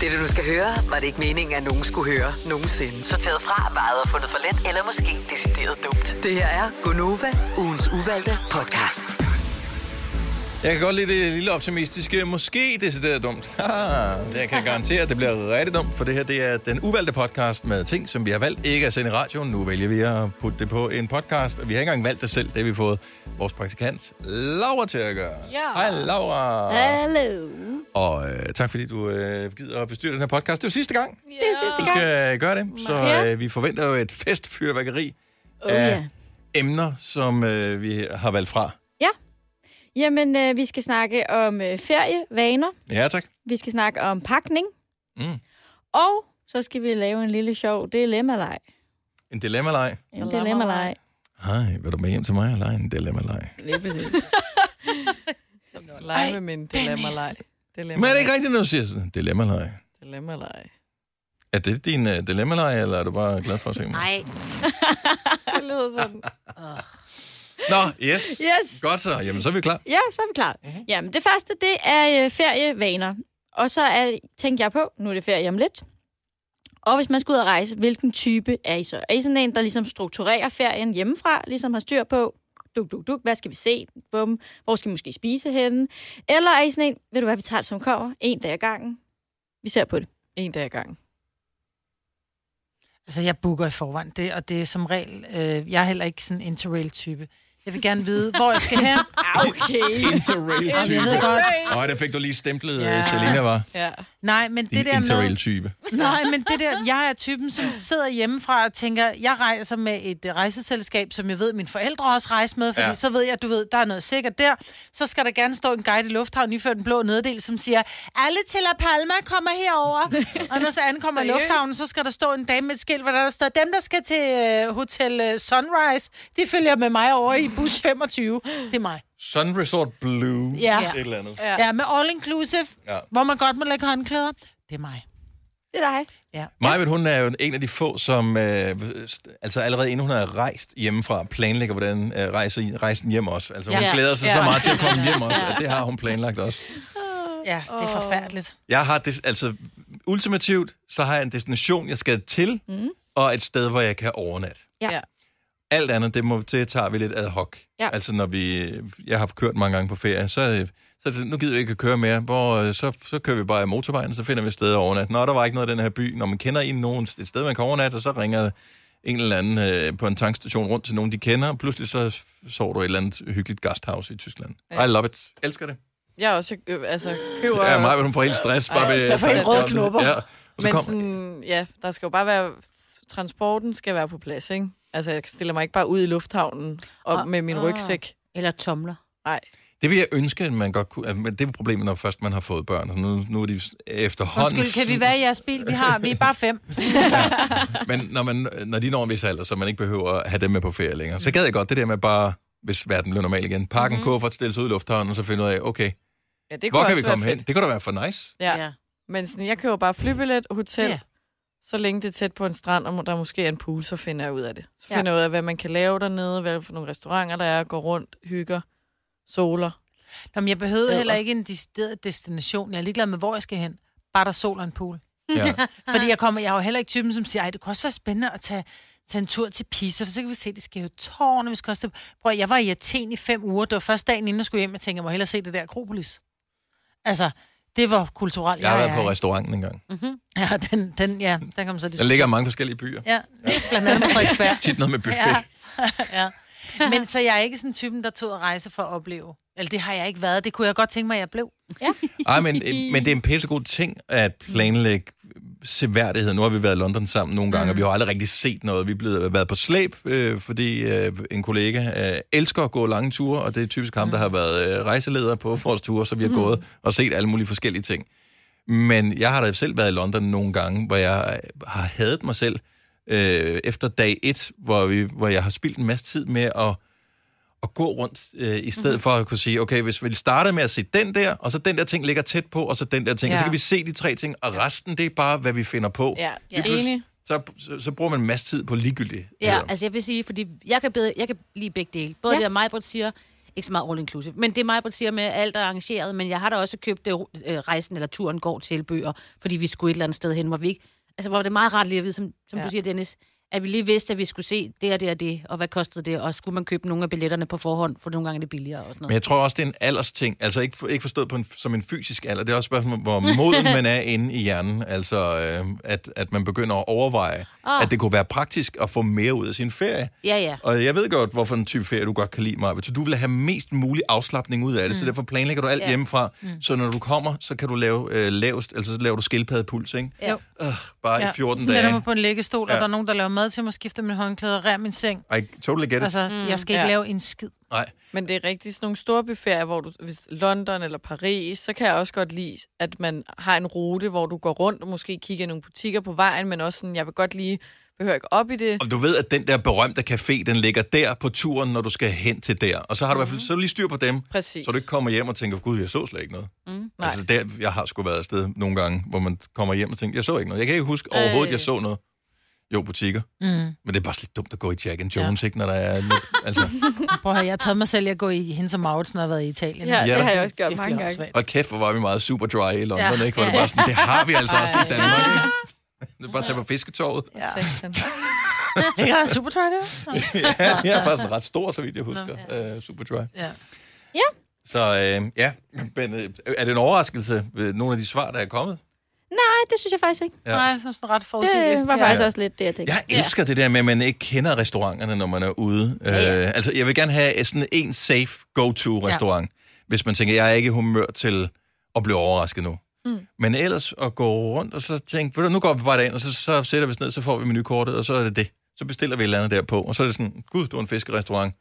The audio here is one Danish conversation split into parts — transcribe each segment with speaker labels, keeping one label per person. Speaker 1: Dette, du skal høre, var det ikke meningen, at nogen skulle høre nogensinde. Sorteret fra, vejet og fundet for let, eller måske decideret dumt. Det her er Gonova, ugens uvalgte podcast.
Speaker 2: Jeg kan godt lide det lille optimistiske, måske decideret dumt. Haha, det jeg kan garantere, at det bliver rigtig dumt, for det her det er den uvalgte podcast med ting, som vi har valgt ikke at sende i radioen. Nu vælger vi at putte det på en podcast, og vi har ikke engang valgt det selv. Det har vi fået vores praktikant, Laura, til at gøre.
Speaker 3: Ja.
Speaker 2: Hej, Laura.
Speaker 4: Hallo.
Speaker 2: Og øh, tak, fordi du øh, gider at bestyre den her podcast. Det er jo sidste gang,
Speaker 4: Det er sidste
Speaker 2: du
Speaker 4: gang.
Speaker 2: skal gøre det. Så øh, vi forventer jo et festfyrværkeri
Speaker 4: Oh,
Speaker 2: af
Speaker 4: ja.
Speaker 2: emner, som øh, vi har valgt fra.
Speaker 4: Jamen, øh, vi skal snakke om øh, ferievaner.
Speaker 2: Ja, tak.
Speaker 4: Vi skal snakke om pakning.
Speaker 2: Mm.
Speaker 4: Og så skal vi lave en lille sjov dilemma-leg.
Speaker 2: En dilemma-leg.
Speaker 4: En dilemma-leg.
Speaker 2: Hej, vil du med hjem til mig og lege en dilemma-leg?
Speaker 3: Lige præcis. Leg med min dilemma-leg.
Speaker 2: Men er det ikke rigtigt, når du siger sådan, dilemma-leg?
Speaker 3: Dilemma-leg.
Speaker 2: Er det din uh, dilemma-leg, eller er du bare glad for at se mig?
Speaker 5: Nej.
Speaker 3: Det lyder sådan.
Speaker 2: Nå, yes.
Speaker 4: Yes!
Speaker 2: Godt så. Jamen, så er vi klar.
Speaker 4: Ja, så er vi klar. Mm-hmm. Jamen, det første, det er øh, ferievaner. Og så er, tænkte jeg på, nu er det ferie om lidt. Og hvis man skal ud og rejse, hvilken type er I så? Er I sådan en, der ligesom strukturerer ferien hjemmefra, ligesom har styr på, duk, duk, duk, hvad skal vi se? Bum, hvor skal vi måske spise henne? Eller er I sådan en, ved du hvad, vi tager det som kommer, en dag ad gangen? Vi ser på det.
Speaker 3: En dag ad gangen.
Speaker 5: Altså, jeg booker i forvejen, det, og det er som regel... Øh, jeg er heller ikke sådan en interrail-type. Jeg vil gerne vide, hvor jeg skal hen.
Speaker 4: Okay.
Speaker 5: Jamen, jeg
Speaker 2: Interrail-type.
Speaker 5: ved godt.
Speaker 2: Åh, der fik du lige stemplet, ja.
Speaker 5: Ja.
Speaker 2: Selina var.
Speaker 3: Ja.
Speaker 5: Nej, men det,
Speaker 2: Din
Speaker 5: der med...
Speaker 2: interrail-type.
Speaker 5: Nej, men det der, jeg er typen, som sidder hjemmefra og tænker, jeg rejser med et øh, rejseselskab, som jeg ved, mine forældre også rejser med, fordi
Speaker 2: Ja.
Speaker 5: ja. så ved jeg, du ved, der er noget sikkert der. Så skal der gerne stå en guide i lufthavnen, iført den blå neddel, som siger, alle til La Palma kommer herover. og når så ankommer i
Speaker 3: Seriøst?
Speaker 5: lufthavnen, så skal der stå en dame med et skilt, hvor der står, dem der skal til øh, Hotel øh, Sunrise, de følger med mig over i bus 25. Det er mig.
Speaker 2: Sun Resort Blue.
Speaker 5: Ja.
Speaker 2: Et eller andet.
Speaker 3: Ja.
Speaker 5: Ja, med all inclusive,
Speaker 2: Ja.
Speaker 5: ja. hvor man godt må lægge håndklæder. Det er mig.
Speaker 4: Det er dig.
Speaker 5: Ja.
Speaker 2: Majbet, hun er jo en af de få, som øh, st- altså allerede inden hun er rejst hjemmefra, planlægger, hvordan øh, rejse, rejsen hjem også. Altså, hun ja.
Speaker 5: Ja.
Speaker 2: glæder sig ja.
Speaker 5: Ja.
Speaker 2: så meget til at komme hjem også, og det har hun planlagt også.
Speaker 5: Ja, det er forfærdeligt.
Speaker 2: Jeg har det, altså ultimativt, så har jeg en destination, jeg skal til, mm. og et sted, hvor jeg kan overnatte.
Speaker 4: Ja.
Speaker 3: Ja.
Speaker 2: Alt andet, det, må, det tager vi lidt ad hoc.
Speaker 4: Ja.
Speaker 2: Altså når vi, jeg har kørt mange gange på ferie, så, øh, så er det sådan, nu gider vi ikke at køre mere, hvor, øh, så, så kører vi bare i motorvejen, så finder vi et sted at overnatte. Nå, der var ikke noget i den her by. Når man kender en nogen, et sted, man kan overnatte, og så ringer en eller anden øh, på en tankstation rundt til nogen, de kender, og pludselig så sover du i et eller andet hyggeligt gasthouse i Tyskland.
Speaker 3: Ja.
Speaker 2: I love it. Elsker det.
Speaker 3: Jeg er også, øh, altså, køber...
Speaker 2: Ja, mig, hun får helt stress. Bare ved,
Speaker 3: jeg får helt røde
Speaker 2: knopper. Ja. Og så
Speaker 3: Men
Speaker 2: kom,
Speaker 3: sådan, ja, der skal jo bare være... Transporten skal være på plads, ikke? Altså, jeg stiller mig ikke bare ud i lufthavnen og
Speaker 5: Ah.
Speaker 3: med min
Speaker 5: Ah.
Speaker 3: rygsæk.
Speaker 5: Eller tomler.
Speaker 3: Nej.
Speaker 2: det vil jeg ønske, at man godt kunne... at- Men det er problemet, når først man har fået børn. Så nu, nu er de efterhånden...
Speaker 5: Undskyld, kan vi være i jeres bil? Vi, har, vi er bare fem.
Speaker 2: Men når, man, når de når en vis alder, så man ikke behøver at have dem med på ferie længere. Så gad jeg godt det der med bare, hvis verden blev normal igen, pakke en kuffert, stille sig ud i lufthavnen, og så finde ud af, okay,
Speaker 3: Ja, Mhm. det
Speaker 2: hvor
Speaker 3: kunne
Speaker 2: kan vi
Speaker 3: også
Speaker 2: komme
Speaker 3: være
Speaker 2: hen?
Speaker 3: fedt.
Speaker 2: Det kunne da være for nice.
Speaker 3: Ja. ja. Men sådan, jeg køber bare flybillet, hotel,
Speaker 5: Ja.
Speaker 3: så længe det er tæt på en strand, og der måske er en pool, så finder jeg ud af det. Så
Speaker 4: Ja.
Speaker 3: finder jeg ud af, hvad man kan lave dernede, hvad for nogle restauranter der er, går rundt, hygger, soler.
Speaker 5: Nå, men jeg behøvede
Speaker 3: Bedre.
Speaker 5: heller ikke en decideret destination. Jeg er ligeglad med, hvor jeg skal hen. Bare der er sol og en pool.
Speaker 2: Ja.
Speaker 5: Fordi jeg, kommer, jeg er jo heller ikke typen, som siger, "Ej, det kunne også være spændende at tage, tage en tur til Pisa, for så kan vi se det skæve tårn, og vi skal også... til- Prøv, at- jeg var i Athen i fem uger. Det var første dagen, inden jeg skulle hjem. Jeg tænkte, jeg må hellere se det der Akropolis. Altså, det var kulturelt.
Speaker 2: Jeg har været på
Speaker 5: ikke?
Speaker 2: restauranten engang.
Speaker 5: Ja, den, den, ja, den kan man så
Speaker 2: Der
Speaker 5: diskutere.
Speaker 2: ligger mange forskellige byer.
Speaker 5: Ja, blandt andet med Frederiksberg.
Speaker 2: Tit noget med buffet.
Speaker 5: Ja. ja. Men så jeg er ikke sådan typen, der tog at rejse for at opleve. Eller det har jeg ikke været. Det kunne jeg godt tænke mig, at jeg blev.
Speaker 2: Ej, men, øh, men det er en pissegod ting at planlægge seværdighed. Nu har vi været i London sammen nogle gange, mm. og vi har aldrig rigtig set noget. Vi er blevet været på slæb, øh, fordi øh, en kollega øh, elsker at gå lange ture, og det er typisk ham, der har været øh, rejseleder på vores ture, så vi har mm. gået og set alle mulige forskellige ting. Men jeg har da selv været i London nogle gange, hvor jeg øh, har hadet mig selv øh, efter dag et, hvor, vi, hvor jeg har spildt en masse tid med at at gå rundt, øh, i stedet
Speaker 3: Mhm.
Speaker 2: mm-hmm. for at kunne sige, okay, hvis vi starter med at se den der, og så den der ting ligger tæt på, og så den der ting, ja. og så
Speaker 5: Ja.
Speaker 2: kan vi se de tre ting, og resten, det er bare, hvad vi finder på.
Speaker 3: Ja,
Speaker 2: Lige
Speaker 3: ja.
Speaker 2: pludselig-
Speaker 3: enig.
Speaker 2: Så, så, så bruger man en masse tid på ligegyldighed.
Speaker 6: Ja, altså jeg vil sige, fordi jeg kan, bedre, jeg kan lide begge dele. Både
Speaker 4: Ja.
Speaker 6: ja. det, at Majbrit siger, Ikke så meget all inclusive. Men det er mig, der siger med, at alt er arrangeret, men jeg har da også købt det, øh, rejsen eller turen går til bøger, fordi vi skulle et eller andet sted hen, hvor vi ikke... Altså, hvor det er meget rart lige at vide, som, som ja.
Speaker 3: Ja.
Speaker 6: du siger, Dennis, at vi lige vidste, at vi skulle se det og det og det, og hvad kostede det, og skulle man købe nogle af billetterne på forhånd, for nogle gange er det billigere og sådan
Speaker 2: Men
Speaker 6: noget.
Speaker 2: jeg tror også, det er en aldersting. Altså ikke, for, ikke forstået på en, som en fysisk alder. Det er også et spørgsmål, hvor moden man er inde i hjernen. Altså, øh, at, at man begynder at overveje,
Speaker 6: Ah.
Speaker 2: oh. at det kunne være praktisk at få mere ud af sin ferie.
Speaker 6: Ja, ja.
Speaker 2: Og jeg ved godt, hvorfor en type ferie, du godt kan lide mig. Så du vil have mest mulig afslappning ud af det, mm. så derfor planlægger du alt
Speaker 6: Ja.
Speaker 2: ja. hjemmefra. Mm. Så når du kommer, så kan du lave øh, lavest, altså så laver du skildpaddepuls, ikke?
Speaker 6: Ja.
Speaker 2: Øh, bare ja. i 14
Speaker 5: Så Sætter
Speaker 2: dage.
Speaker 5: mig på en læggestol, ja. og
Speaker 2: Ja.
Speaker 5: der er nogen, der laver mad til mig, skifter min håndklæde og rærer min seng.
Speaker 2: I totally get it. Altså,
Speaker 5: Altså, mm, jeg skal ikke ja.
Speaker 3: Ja.
Speaker 5: lave en skid.
Speaker 2: Nej.
Speaker 3: Men det er rigtigt sådan nogle store buffeter, hvor du, hvis London eller Paris, så kan jeg også godt lide, at man har en rute, hvor du går rundt og måske kigger i nogle butikker på vejen, men også sådan, jeg vil godt lige, behøver ikke op i det.
Speaker 2: Og du ved, at den der berømte café, den ligger der på turen, når du skal hen til der. Og så har du i hvert fald så er du lige styr på dem,
Speaker 3: Præcis.
Speaker 2: så du ikke kommer hjem og tænker, gud, jeg så slet ikke noget. Mm.
Speaker 3: Nej.
Speaker 2: Altså, der, jeg har sgu været afsted nogle gange, hvor man kommer hjem og tænker, jeg så ikke noget. Jeg kan ikke huske overhovedet,
Speaker 6: Øh.
Speaker 2: jeg så noget. Jo, butikker. Mm. Men det er bare så lidt dumt at gå i Jack and Jones, ja. ikke, når der er... Altså,
Speaker 5: Prøv at høre, jeg har taget mig selv i at gå i hendes og Maurits, når jeg har været i Italien.
Speaker 4: Ja,
Speaker 2: Ja.
Speaker 4: det har jeg også gjort
Speaker 5: Det er
Speaker 4: mange gange.
Speaker 5: åndssvagt.
Speaker 2: og kæft, hvor var vi meget super dry i London,
Speaker 5: Ja.
Speaker 2: ja. ikke? Hvor det bare sådan, det har vi altså også i Danmark, ikke? Det er bare at tage på fisketorvet. Ja.
Speaker 3: Satan.
Speaker 5: Ligger der super try det?
Speaker 2: ja, det er faktisk en ret stor, så vidt jeg husker. Ja. Uh, super dry.
Speaker 5: Ja.
Speaker 2: Så øh, ja, men øh, er det en overraskelse ved nogle af de svar, der er kommet?
Speaker 4: Nej, det synes jeg faktisk ikke.
Speaker 2: Ja.
Speaker 5: Nej, jeg synes, det er ret forudsigeligt.
Speaker 4: Det var
Speaker 5: ja.
Speaker 4: faktisk også lidt det, jeg tænkte.
Speaker 2: Jeg elsker det der med, at man ikke kender restauranterne, når man er ude. Ja, ja. Øh, altså, jeg vil gerne have sådan en safe go-to-restaurant, ja. hvis man tænker, jeg er ikke i humør til at blive overrasket nu. Mm. Men ellers at gå rundt og så tænke, ved du, nu går vi bare derind, og så, så sætter vi os ned, så får vi menukortet, og så er det det. Så bestiller vi et eller andet derpå, og så er det sådan, gud, det var en fiskerestaurant.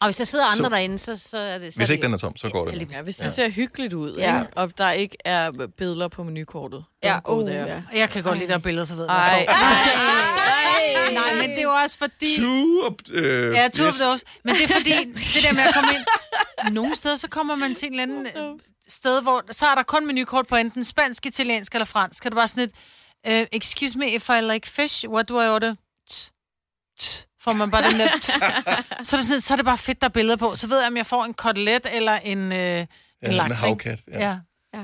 Speaker 6: Og hvis der sidder andre
Speaker 2: Så-
Speaker 6: så, derinde, så, så er det... Så
Speaker 2: Hvis
Speaker 6: er
Speaker 2: ikke
Speaker 6: det,
Speaker 2: den er tom, så går det.
Speaker 6: Eller-
Speaker 3: Ja, hvis det ja. ser hyggeligt ud,
Speaker 4: Ja.
Speaker 3: ja. ikke? og der ikke er billeder på menukortet.
Speaker 4: Ja,
Speaker 3: Don't go
Speaker 4: oh,
Speaker 3: there.
Speaker 4: ja.
Speaker 5: Og Jeg kan godt lide der billeder, så ved jeg,
Speaker 3: Ej.
Speaker 5: hvad jeg får. Nej, men det er jo også fordi...
Speaker 2: Two up, øh,
Speaker 5: Ja, two of those. Men det er fordi, det der med at komme ind... Nogle steder, så kommer man til en eller anden øh, sted, hvor så er der kun menukort på enten spansk, italiensk eller fransk. Så er det bare sådan et, øh, excuse me if I like fish, what do I order? T- t- Får man bare den der... t- Så er, det sådan, så er det bare fedt, der er billeder på. Så ved jeg, om jeg får en kotelet eller en, øh, en
Speaker 2: Ja, en
Speaker 5: laks, ikke?
Speaker 2: havkat. Ja.
Speaker 5: Ja.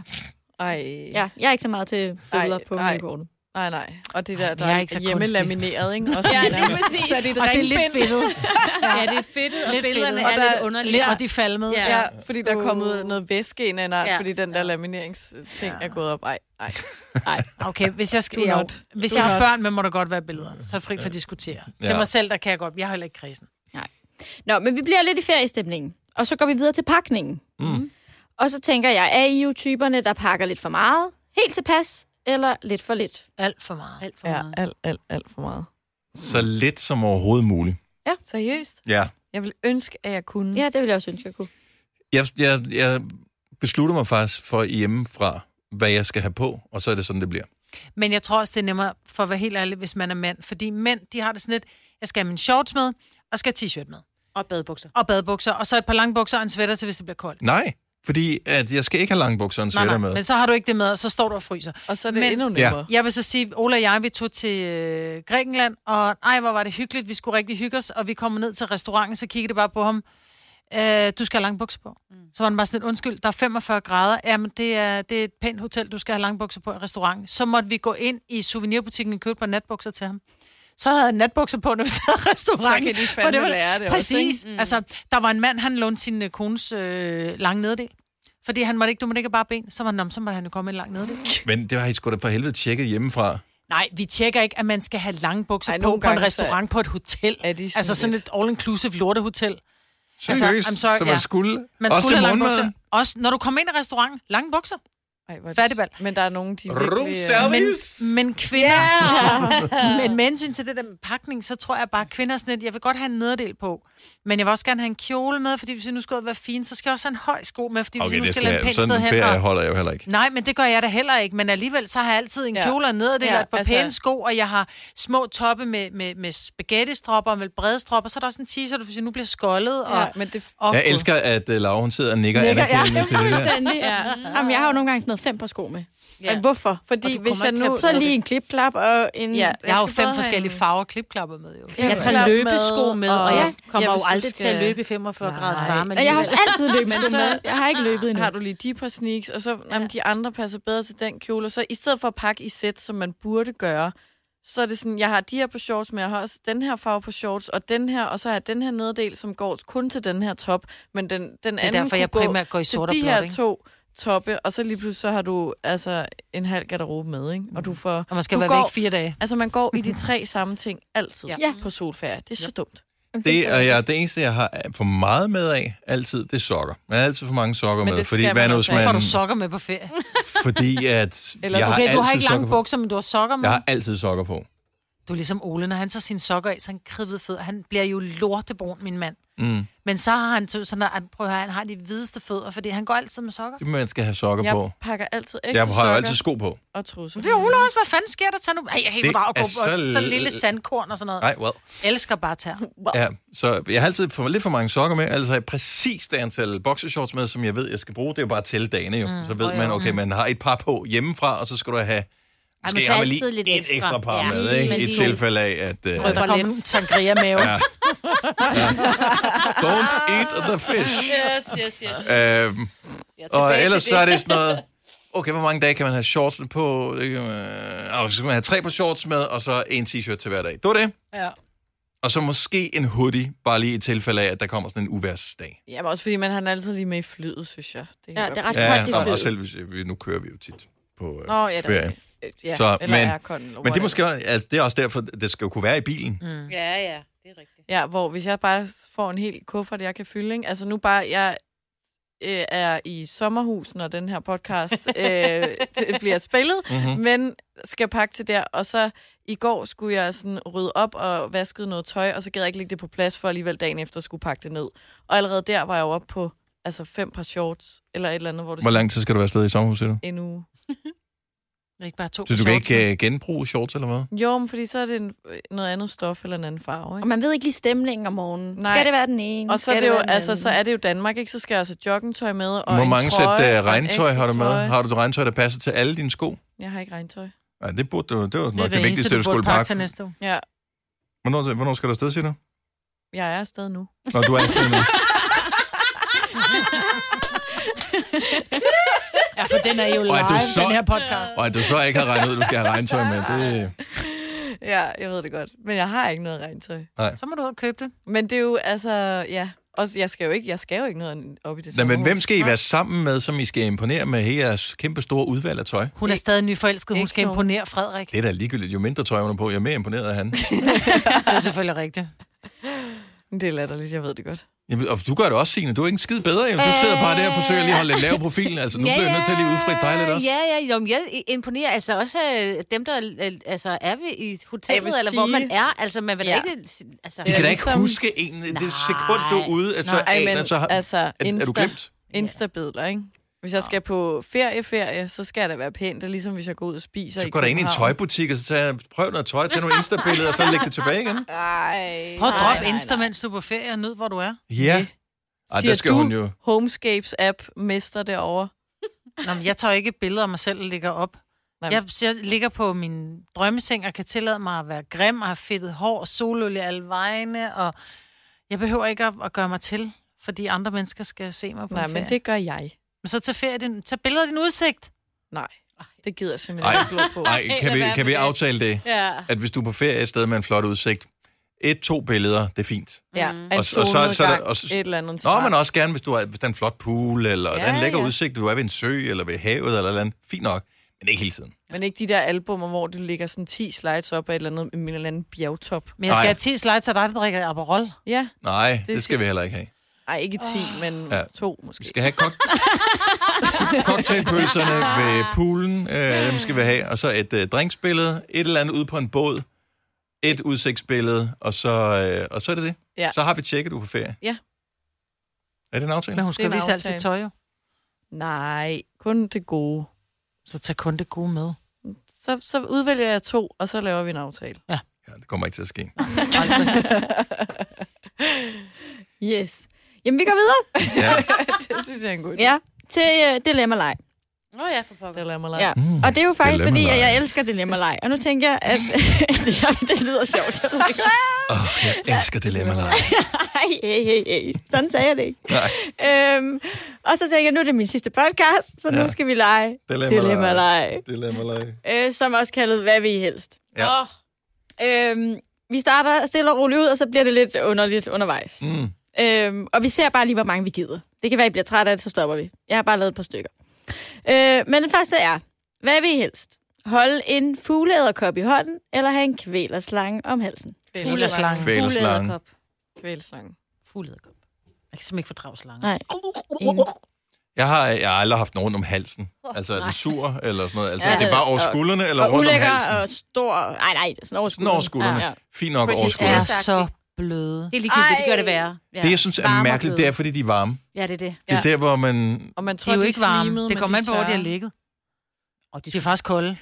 Speaker 3: Ej.
Speaker 4: Ja, jeg er ikke så meget til billeder
Speaker 3: Ej,
Speaker 4: på
Speaker 3: ej.
Speaker 4: menukortet.
Speaker 3: Nej, nej. Og det der,
Speaker 5: men
Speaker 3: der
Speaker 5: jeg er
Speaker 3: er,
Speaker 5: ikke så
Speaker 3: er hjemmelamineret, ikke? Også
Speaker 4: Ja,
Speaker 3: sådan
Speaker 4: lige
Speaker 3: der.
Speaker 4: præcis.
Speaker 3: Så er det et
Speaker 5: Og det er lidt
Speaker 3: ringbind.
Speaker 5: fedtet.
Speaker 6: Ja, det er fedt, og
Speaker 5: Lidt
Speaker 6: billederne
Speaker 5: fedtet.
Speaker 6: er
Speaker 5: Og der-
Speaker 6: lidt underlige.
Speaker 5: Lidt, og de er falmet.
Speaker 6: Ja.
Speaker 3: Ja, fordi der er kommet noget væske ind af en art,
Speaker 6: Ja.
Speaker 3: ja. fordi den der lamineringsting er gået op. Ej, ej.
Speaker 5: Okay, hvis jeg, skal,
Speaker 3: Do
Speaker 5: jo,
Speaker 3: not.
Speaker 5: hvis
Speaker 3: Do
Speaker 5: jeg har
Speaker 3: not.
Speaker 5: børn med, må der godt være billeder. Så er jeg fri for at diskutere. Ja. Til
Speaker 2: Ja.
Speaker 5: mig selv, der kan jeg godt. Jeg har heller ikke krisen.
Speaker 4: Nå, men vi bliver lidt i feriestemningen, og så går vi videre til pakningen. Mm. Og så tænker jeg, er I jo typerne, der pakker lidt for meget, helt tilpas, eller lidt for lidt?
Speaker 3: Mm.
Speaker 5: Alt for meget.
Speaker 6: Alt for
Speaker 3: Ja,
Speaker 6: meget.
Speaker 3: alt, alt, alt for meget.
Speaker 2: Så lidt som overhovedet muligt.
Speaker 3: Seriøst?
Speaker 2: Ja.
Speaker 3: Jeg vil ønske, at jeg kunne.
Speaker 4: Ja, det ville jeg også ønske, jeg kunne.
Speaker 2: Jeg, jeg, jeg beslutter mig faktisk for hjemmefra, hvad jeg skal have på, og så er det sådan, det bliver.
Speaker 5: Men jeg tror også, det er nemmere, for at være helt ærlig, hvis man er mand. Fordi mænd, de har det sådan lidt, jeg skal have min shorts med, og skal have t-shirt med.
Speaker 6: Og badebukser.
Speaker 5: Og badebukser, og så et par lange bukser og en sweater til, hvis det bliver koldt.
Speaker 2: Nej, fordi at jeg skal ikke have lange bukser og en sweater med.
Speaker 5: men så har du ikke det med, og så står du og fryser.
Speaker 3: Og så er det
Speaker 5: Men-
Speaker 3: Men, endnu nemmere.
Speaker 5: Jeg vil så sige, Ola og jeg, vi tog til øh, Grækenland, og ej, hvor var det hyggeligt, vi skulle rigtig hygge os, og vi kom ned til restauranten, så kiggede det bare på ham, øh, du skal have lange bukser på. Mm. Så var han bare sådan lidt, undskyld, der er 45 grader, jamen det er, det er et pænt hotel, du skal have lange bukser på i restauranten. Så måtte vi gå ind i souvenirbutikken og købe et par natbukser til ham. Så havde han natbukser på, når vi sad i
Speaker 3: Så kan
Speaker 5: restauranten.
Speaker 3: de
Speaker 5: hvor
Speaker 3: fandme
Speaker 5: var-
Speaker 3: lære det også,
Speaker 5: Præcis. mm. Altså, der var en mand, han lånte sin øh, kones øh, lange neddel. Fordi han måtte ikke, du måtte ikke have bare ben, så var han, "Nå, men så måtte han jo komme med en lang neddel.
Speaker 2: Men det har I sgu da for helvede tjekket
Speaker 5: Altså,
Speaker 2: hjemmefra.
Speaker 5: Nej, vi tjekker ikke, at man skal have lange bukser Ej,
Speaker 3: Ej,
Speaker 5: på
Speaker 3: nogle
Speaker 5: på en
Speaker 3: gange, så
Speaker 5: restaurant på et hotel.
Speaker 3: er de sådan
Speaker 5: altså sådan
Speaker 3: lidt-
Speaker 5: et all-inclusive lortehotel. Altså,
Speaker 2: Seriøst,
Speaker 5: I'm sorry,
Speaker 2: så man
Speaker 5: ja.
Speaker 2: skulle.
Speaker 5: Man
Speaker 2: også
Speaker 5: skulle
Speaker 2: til
Speaker 5: have lange bukser.
Speaker 2: morgenmaden.
Speaker 5: Også når du kommer ind i restauranten, lange bukser.
Speaker 3: Ej, hvor er det-
Speaker 5: Fattigbal.
Speaker 3: Men der er nogen, de
Speaker 2: Room
Speaker 3: virkelig... øh,
Speaker 2: service.
Speaker 5: Men kvinder... Yeah. men med hensyn til det der med pakning, så tror jeg bare, at kvinder er sådan lidt, jeg vil godt have en nederdel på, men jeg vil også gerne have en kjole med, fordi hvis jeg nu skal ud og være fin, så skal jeg også have en høj sko med, fordi hvis
Speaker 2: Okay,
Speaker 5: jeg nu
Speaker 2: det skal
Speaker 5: skal lade en
Speaker 2: jeg.
Speaker 5: pæn sted
Speaker 2: Sådan en
Speaker 5: hen.
Speaker 2: ferie
Speaker 5: og-
Speaker 2: holder jeg jo heller ikke.
Speaker 5: Nej, men det gør jeg da heller ikke. Men alligevel, så har jeg altid en
Speaker 3: Ja.
Speaker 5: kjole og nederdel ja,
Speaker 3: Ja,
Speaker 5: og et par altså...
Speaker 3: altså-
Speaker 5: pæne sko, og jeg har små toppe med, med, med spaghettistropper og med brede stropper, så er der også en t-shirt, hvis jeg nu bliver skoldet. Og,
Speaker 3: Ja, men det,
Speaker 5: og
Speaker 2: Jeg elsker, at uh, Laura hun sidder og nikker
Speaker 5: Nikker, ja.
Speaker 2: anerkendende til det der.
Speaker 4: Fuldstændig. Ja. Jamen, jeg har jo nogle gange sådan noget fem par sko med. Ja. Ej, hvorfor?
Speaker 3: Fordi
Speaker 6: du
Speaker 3: hvis
Speaker 6: kommer
Speaker 3: jeg
Speaker 6: ikke til
Speaker 3: nu...
Speaker 6: at-
Speaker 4: Så lige en klipklap og en...
Speaker 3: Ja,
Speaker 5: Jeg har jo
Speaker 3: skal
Speaker 5: fem
Speaker 3: både have
Speaker 5: forskellige
Speaker 3: en-
Speaker 5: farver klipklapper med, jo.
Speaker 6: Jeg tager
Speaker 3: klap med,
Speaker 6: løbesko med, og
Speaker 3: og-
Speaker 6: jeg kommer
Speaker 3: Ja,
Speaker 6: jo
Speaker 3: hvis du
Speaker 6: aldrig til at
Speaker 3: skal-
Speaker 6: løbe i 45 graders
Speaker 3: Nej.
Speaker 6: varme.
Speaker 4: Og jeg har også
Speaker 6: alligevel.
Speaker 4: altid løbet
Speaker 3: Men så-
Speaker 4: med. Jeg har ikke løbet endnu.
Speaker 3: har du lige de par sneaks, og så jamen, de andre passer bedre til den kjole. Og så i stedet for at pakke i sæt, som man burde gøre, så er det sådan, jeg har de her på shorts, men jeg har også den her farve på shorts, og den her, og så har jeg den her nederdel, som går kun til den her top, men den, den anden
Speaker 5: derfor,
Speaker 3: kunne
Speaker 5: jeg
Speaker 3: gå
Speaker 5: primært går i
Speaker 3: til
Speaker 5: sort og
Speaker 3: de
Speaker 5: blåt,
Speaker 3: her
Speaker 5: ikke?
Speaker 3: to toppe, og så lige pludselig så har du altså en halv garderobe med, ikke? Og du får...
Speaker 5: Mm. Og man skal
Speaker 3: du
Speaker 5: være
Speaker 3: går,
Speaker 5: væk fire dage.
Speaker 3: Altså, man går i de tre samme ting altid
Speaker 4: Ja.
Speaker 3: ja. på solferie. Det er så dumt.
Speaker 2: Det, og jeg, det eneste, jeg har for meget med af altid, det er sokker. Jeg har altid for mange sokker
Speaker 3: Men
Speaker 2: med,
Speaker 3: det
Speaker 2: fordi
Speaker 3: skal
Speaker 2: hvad
Speaker 3: man
Speaker 2: nu, hvis
Speaker 3: også have.
Speaker 5: Får du
Speaker 2: man...
Speaker 5: sokker med på ferie?
Speaker 2: Fordi at...
Speaker 3: Eller-
Speaker 2: jeg
Speaker 5: Okay,
Speaker 2: har
Speaker 5: Øhm, du har
Speaker 2: altid
Speaker 5: ikke lange
Speaker 2: sokker på.
Speaker 5: bukser, men du har sokker med.
Speaker 2: Jeg har altid sokker på.
Speaker 5: Du er ligesom Ole, når han tager sine sokker af, så er han kridvet fed. Han bliver jo lortebrun, min mand. Mm. Men så har han så- sådan, at han, prøv at høre, han har de hvideste fødder, fordi han går altid med sokker.
Speaker 2: Det man skal have sokker
Speaker 3: Jeg
Speaker 2: på.
Speaker 3: pakker altid
Speaker 2: Jeg
Speaker 3: ekstra
Speaker 2: har jo
Speaker 3: sokker
Speaker 2: altid sko på.
Speaker 3: og trusser.
Speaker 5: Det er Ole også, hvad fanden sker der? Tag nu, ej, jeg er helt
Speaker 2: Det
Speaker 5: bare at gå
Speaker 2: er
Speaker 5: så,
Speaker 2: så
Speaker 5: så
Speaker 2: l-
Speaker 5: lille sandkorn og sådan noget.
Speaker 2: Nej, well.
Speaker 5: Elsker bare tær.
Speaker 2: Ja, så jeg har altid for, lidt for mange sokker med, altså har jeg præcis det antal boxershorts med, som jeg ved, jeg skal bruge. Det er jo bare til dagene jo. Mm, så ved man, okay, man har et par på hjemmefra, og så skal du have... Måske
Speaker 6: man
Speaker 2: Ej,
Speaker 6: tager
Speaker 2: har man
Speaker 6: altid
Speaker 2: lige
Speaker 6: lidt
Speaker 2: et
Speaker 6: ekstra.
Speaker 2: ekstra, ekstra par
Speaker 6: Ja.
Speaker 2: ja, med,
Speaker 6: Lige
Speaker 2: ikke?
Speaker 6: med
Speaker 2: I
Speaker 6: de-
Speaker 2: tilfalde af, at... Uh,
Speaker 5: Der kommer en sangria mave.
Speaker 2: Ja. don't eat the fish.
Speaker 6: Yes, yes, yes.
Speaker 2: Øhm, og ellers så er det sådan noget... Okay, hvor mange dage kan man have shorts på? Det kan man, og så skal man have tre på shorts med, og så en t-shirt til hver dag. Det var det.
Speaker 5: Ja.
Speaker 2: Og så måske en hoodie, bare lige i tilfælde af, at der kommer sådan en uværsdag.
Speaker 3: Jamen også fordi man har den altid lige med i flyet, synes jeg. Det
Speaker 4: Ja, det er ret
Speaker 2: Ja,
Speaker 4: koldt i
Speaker 2: og, og
Speaker 4: flyet.
Speaker 2: selv hvis øh, vi, nu kører vi jo tit på øh,
Speaker 3: Nå, ja, det er
Speaker 2: ferie.
Speaker 3: rigtigt. ja,
Speaker 2: Så,
Speaker 3: så, eller
Speaker 2: men-
Speaker 3: men, er konden, eller
Speaker 2: Men det er
Speaker 3: whatever.
Speaker 2: måske altså, det er også derfor, det skal jo kunne være i bilen. Mm.
Speaker 6: Ja, ja, det er rigtigt.
Speaker 3: Ja, hvor hvis jeg bare får en hel kuffert, jeg kan fylde, ikke? Altså nu bare, jeg øh, er i sommerhus, når den her podcast øh, t- bliver spillet,
Speaker 2: Mhm. Mm.
Speaker 3: mm-hmm. men skal pakke til der, og så i går skulle jeg sådan rydde op og vaskede noget tøj, og så gad jeg ikke lægge det på plads, for alligevel dagen efter skulle pakke det ned. Og allerede der var jeg jo oppe på altså fem par shorts, eller et eller andet, hvor det
Speaker 2: Hvor lang tid skal du være afsted i sommerhuset nu?
Speaker 3: stod en uge.
Speaker 5: Ikke bare to
Speaker 2: Så du kan
Speaker 5: shorts med.
Speaker 2: ikke øh, genbruge shorts eller hvad?
Speaker 3: Jo, men fordi så er det en, øh, noget andet stof eller en anden farve,
Speaker 4: Og
Speaker 3: ikke?
Speaker 4: man ved ikke lige stemningen om morgenen.
Speaker 3: Nej.
Speaker 4: Skal det være den ene?
Speaker 3: Og så er,
Speaker 4: Skal
Speaker 3: det jo,
Speaker 4: være den
Speaker 3: altså,
Speaker 4: anden?
Speaker 3: så er det jo Danmark, ikke? Så skal jeg altså joggingtøj med, og
Speaker 2: Hvor
Speaker 3: en
Speaker 2: mange sæt
Speaker 3: trøje, og
Speaker 2: øh,
Speaker 3: en
Speaker 2: regntøj
Speaker 3: ekstra
Speaker 2: har du med?
Speaker 3: trøje.
Speaker 2: Har du regntøj, der passer til alle dine sko?
Speaker 3: Jeg har ikke regntøj.
Speaker 2: Ja, det burde du, det var nok det,
Speaker 5: eneste,
Speaker 2: vigtigste, du, skulle
Speaker 5: burde pakke
Speaker 2: pakke.
Speaker 5: til næste uge.
Speaker 3: Ja,
Speaker 2: Hvornår, hvornår skal du afsted, siger du?
Speaker 3: jeg er afsted nu.
Speaker 2: Nå, du er afsted nu.
Speaker 5: Ja, for den er jo
Speaker 2: Og er du
Speaker 5: live,
Speaker 2: så-
Speaker 5: den her podcast.
Speaker 2: Og at du så ikke har regnet ud, at du skal have regntøj med, det...
Speaker 3: Ja, jeg ved det godt. Men jeg har ikke noget regntøj.
Speaker 5: Så må du ud og købe det.
Speaker 3: Men det er jo, altså, ja. Også, jeg skal jo ikke, jeg skal jo ikke noget op i det
Speaker 2: Nå, men
Speaker 3: sommerhus.
Speaker 2: hvem skal I være sammen med, som I skal imponere med hele jeres kæmpe store udvalg af tøj?
Speaker 5: Hun er stadig nyforelsket. Hun
Speaker 3: Ikke
Speaker 5: skal
Speaker 3: nogen.
Speaker 5: imponere Frederik.
Speaker 2: Det er da ligegyldigt. Jo mindre tøj, hun er på, jo mere imponeret af han.
Speaker 5: Det er selvfølgelig rigtigt.
Speaker 3: Det er latterligt, jeg ved det godt.
Speaker 2: Jeg ved, og du gør det også, Signe. Du er ikke skid bedre, jo. Du sidder bare der og forsøger lige at holde en lav profil. Altså, nu bliver jeg nødt til at lige udfritte dig lidt også.
Speaker 6: Ja, ja, jo, men jeg imponerer altså også øh, dem, der øh, altså, er ved i
Speaker 3: Jeg vil
Speaker 6: hotellet, eller hvor man
Speaker 3: sige-
Speaker 6: er. Altså, man vil ja.
Speaker 3: Ja.
Speaker 6: ikke... Altså,
Speaker 2: De kan da ikke
Speaker 3: Ligesom-
Speaker 2: huske en det sekund, du er ude, at så,
Speaker 3: Nej,
Speaker 2: aner,
Speaker 3: men
Speaker 2: så har,
Speaker 3: altså,
Speaker 2: er, er, du
Speaker 3: Insta.
Speaker 2: glemt?
Speaker 3: Insta-billeder, ikke? Hvis jeg skal på ferie, ferie, så skal det være pænt. Det er ligesom, hvis jeg går ud og spiser
Speaker 2: Så går der ind i en
Speaker 3: København.
Speaker 2: tøjbutik, og så tager, prøv noget tøj, tag nogle Insta-billeder, og så læg det tilbage igen.
Speaker 3: Ej,
Speaker 5: Prøv at
Speaker 3: nej,
Speaker 5: droppe
Speaker 3: nej,
Speaker 5: Insta,
Speaker 3: nej.
Speaker 5: mens du er på ferie og nyd, hvor du er.
Speaker 2: Ja. Ej,
Speaker 3: Siger
Speaker 2: der skal
Speaker 3: du,
Speaker 2: hun jo...
Speaker 3: Homescapes app mester derovre.
Speaker 5: Nå, men jeg tager jo ikke billeder af mig selv og lægger op.
Speaker 3: Nej,
Speaker 5: Jeg, jeg ligger på min drømmeseng og kan tillade mig at være grim og have fedtet hår og soløl i alle vegne. Og jeg behøver ikke at, at gøre mig til, fordi andre mennesker skal se mig på
Speaker 3: nej
Speaker 5: en ferie.
Speaker 3: men det gør jeg.
Speaker 5: men så tag, ferie, din, tag billeder af din udsigt.
Speaker 3: Nej, det gider jeg simpelthen
Speaker 2: Ej.
Speaker 3: ikke blå på.
Speaker 2: Nej, kan vi, kan vi aftale det?
Speaker 6: Ja.
Speaker 2: At hvis du er på ferie et sted med en flot udsigt, et-to billeder, det er fint.
Speaker 3: Ja,
Speaker 2: Og-
Speaker 3: og,
Speaker 2: og
Speaker 3: og
Speaker 2: så-
Speaker 3: så,
Speaker 2: så er der- og
Speaker 3: og
Speaker 2: så-
Speaker 3: så, et eller andet
Speaker 2: Nå,
Speaker 3: strand.
Speaker 2: men også gerne, hvis, du er, hvis der er en flot pool, eller ja, der er en
Speaker 6: Ja,
Speaker 2: lækker
Speaker 6: ja.
Speaker 2: ja. udsigt, du er ved en sø, eller ved havet, eller et eller andet. Fint nok, men ikke hele tiden.
Speaker 3: Men ikke de der albumer, hvor du ligger sådan 10 slides op af et eller andet, en eller anden bjergtop.
Speaker 5: Men jeg skal
Speaker 2: Nej.
Speaker 5: have 10 slides af dig, der drikker Aperol.
Speaker 3: Ja,
Speaker 2: Nej, det, det skal
Speaker 3: skal-
Speaker 2: vi heller ikke have.
Speaker 3: ej, ikke 10,
Speaker 5: Ah.
Speaker 3: oh. men
Speaker 2: Ja.
Speaker 3: ja. to
Speaker 2: Vi
Speaker 3: måske.
Speaker 2: skal have kok- cocktailpølserne ved poolen, øh, dem skal vi have, og så et øh, drinksbillede, et eller andet ude på en båd, et udsigtsbillede, og så, øh, og så er det det.
Speaker 3: Ja.
Speaker 2: Så har vi tjekket, du er på ferie.
Speaker 3: Ja.
Speaker 2: Er det en aftale?
Speaker 5: Men hun
Speaker 3: Det
Speaker 5: skal
Speaker 3: er en
Speaker 5: vise alt sit
Speaker 3: aftale.
Speaker 5: tøj jo.
Speaker 3: Nej, kun det gode.
Speaker 5: Så tag kun det gode med.
Speaker 3: Så, så udvælger jeg to, og så laver vi en aftale.
Speaker 2: Ja, det kommer ikke til at ske.
Speaker 4: Yes. Jamen, vi går videre.
Speaker 2: Ja.
Speaker 3: det synes jeg er en god idé.
Speaker 4: Ja, til øh, dilemma leg.
Speaker 6: Nå ja, for pokker.
Speaker 3: Det lader mig lege.
Speaker 4: Ja. Mm, og det er jo faktisk, fordi
Speaker 2: dilemma-leg.
Speaker 4: at jeg elsker dilemma-leg. Og nu tænker jeg, at ja, det lyder sjovt. Jeg ved ikke.
Speaker 2: Åh, jeg elsker dilemma nej.
Speaker 4: Ej, ej, ej, ej. Sådan sagde jeg det ikke.
Speaker 2: Nej,
Speaker 4: Øhm, og så tænker jeg, nu er det min sidste podcast, så
Speaker 2: Ja.
Speaker 4: nu skal vi lege
Speaker 2: dilemma-leg.
Speaker 4: dilemma-leg.
Speaker 2: Dilemma-leg.
Speaker 4: Øh, som også kaldet Hvad vi helst.
Speaker 2: Ja.
Speaker 4: Og, øhm, vi starter stille og roligt ud, og så bliver det lidt underligt undervejs.
Speaker 2: Mm.
Speaker 4: Øhm, og vi ser bare lige, hvor mange vi gider. Det kan være, I bliver trætte af det, så stopper vi. Jeg har bare lavet et par stykker. Øh, men den første er, hvad vil I helst? Holde en fugleæderkop i hånden, eller have en kvælerslange om halsen?
Speaker 5: Fugleslange.
Speaker 2: Kvælerslange.
Speaker 6: Fuglederkop.
Speaker 3: Kvælerslange.
Speaker 6: Fuglederkop. Jeg kan simpelthen ikke fordrage slanger.
Speaker 4: Nej. Enig.
Speaker 2: Jeg har, jeg har aldrig haft nogen om halsen. Altså, er den sur eller sådan noget? Altså, ja, det er bare over
Speaker 4: og-
Speaker 2: skuldrene eller
Speaker 4: Og
Speaker 2: rundt om
Speaker 4: ulækker
Speaker 2: halsen?
Speaker 4: og stor... Nej, nej, sådan over
Speaker 2: Sådan
Speaker 4: skuldrene.
Speaker 2: over skuldrene.
Speaker 4: Ja.
Speaker 2: Fint nok
Speaker 6: Fordi-
Speaker 2: over
Speaker 5: er
Speaker 2: skuldrene.
Speaker 6: Ja.
Speaker 5: så bløde.
Speaker 6: Det er ligegyldigt, det gør det
Speaker 4: Ej.
Speaker 6: værre. Ja.
Speaker 2: Det, jeg synes er
Speaker 6: Varme og
Speaker 2: mærkeligt, det
Speaker 6: bløde.
Speaker 2: er, fordi de er varme.
Speaker 6: Ja, det er det.
Speaker 2: Det er der, hvor man...
Speaker 3: Og man
Speaker 5: De
Speaker 3: tror,
Speaker 5: er jo
Speaker 3: de
Speaker 5: ikke varme.
Speaker 3: Slimede,
Speaker 5: det kommer an på, hvor de har
Speaker 3: tørre.
Speaker 5: ligget. Og de, de er faktisk kolde.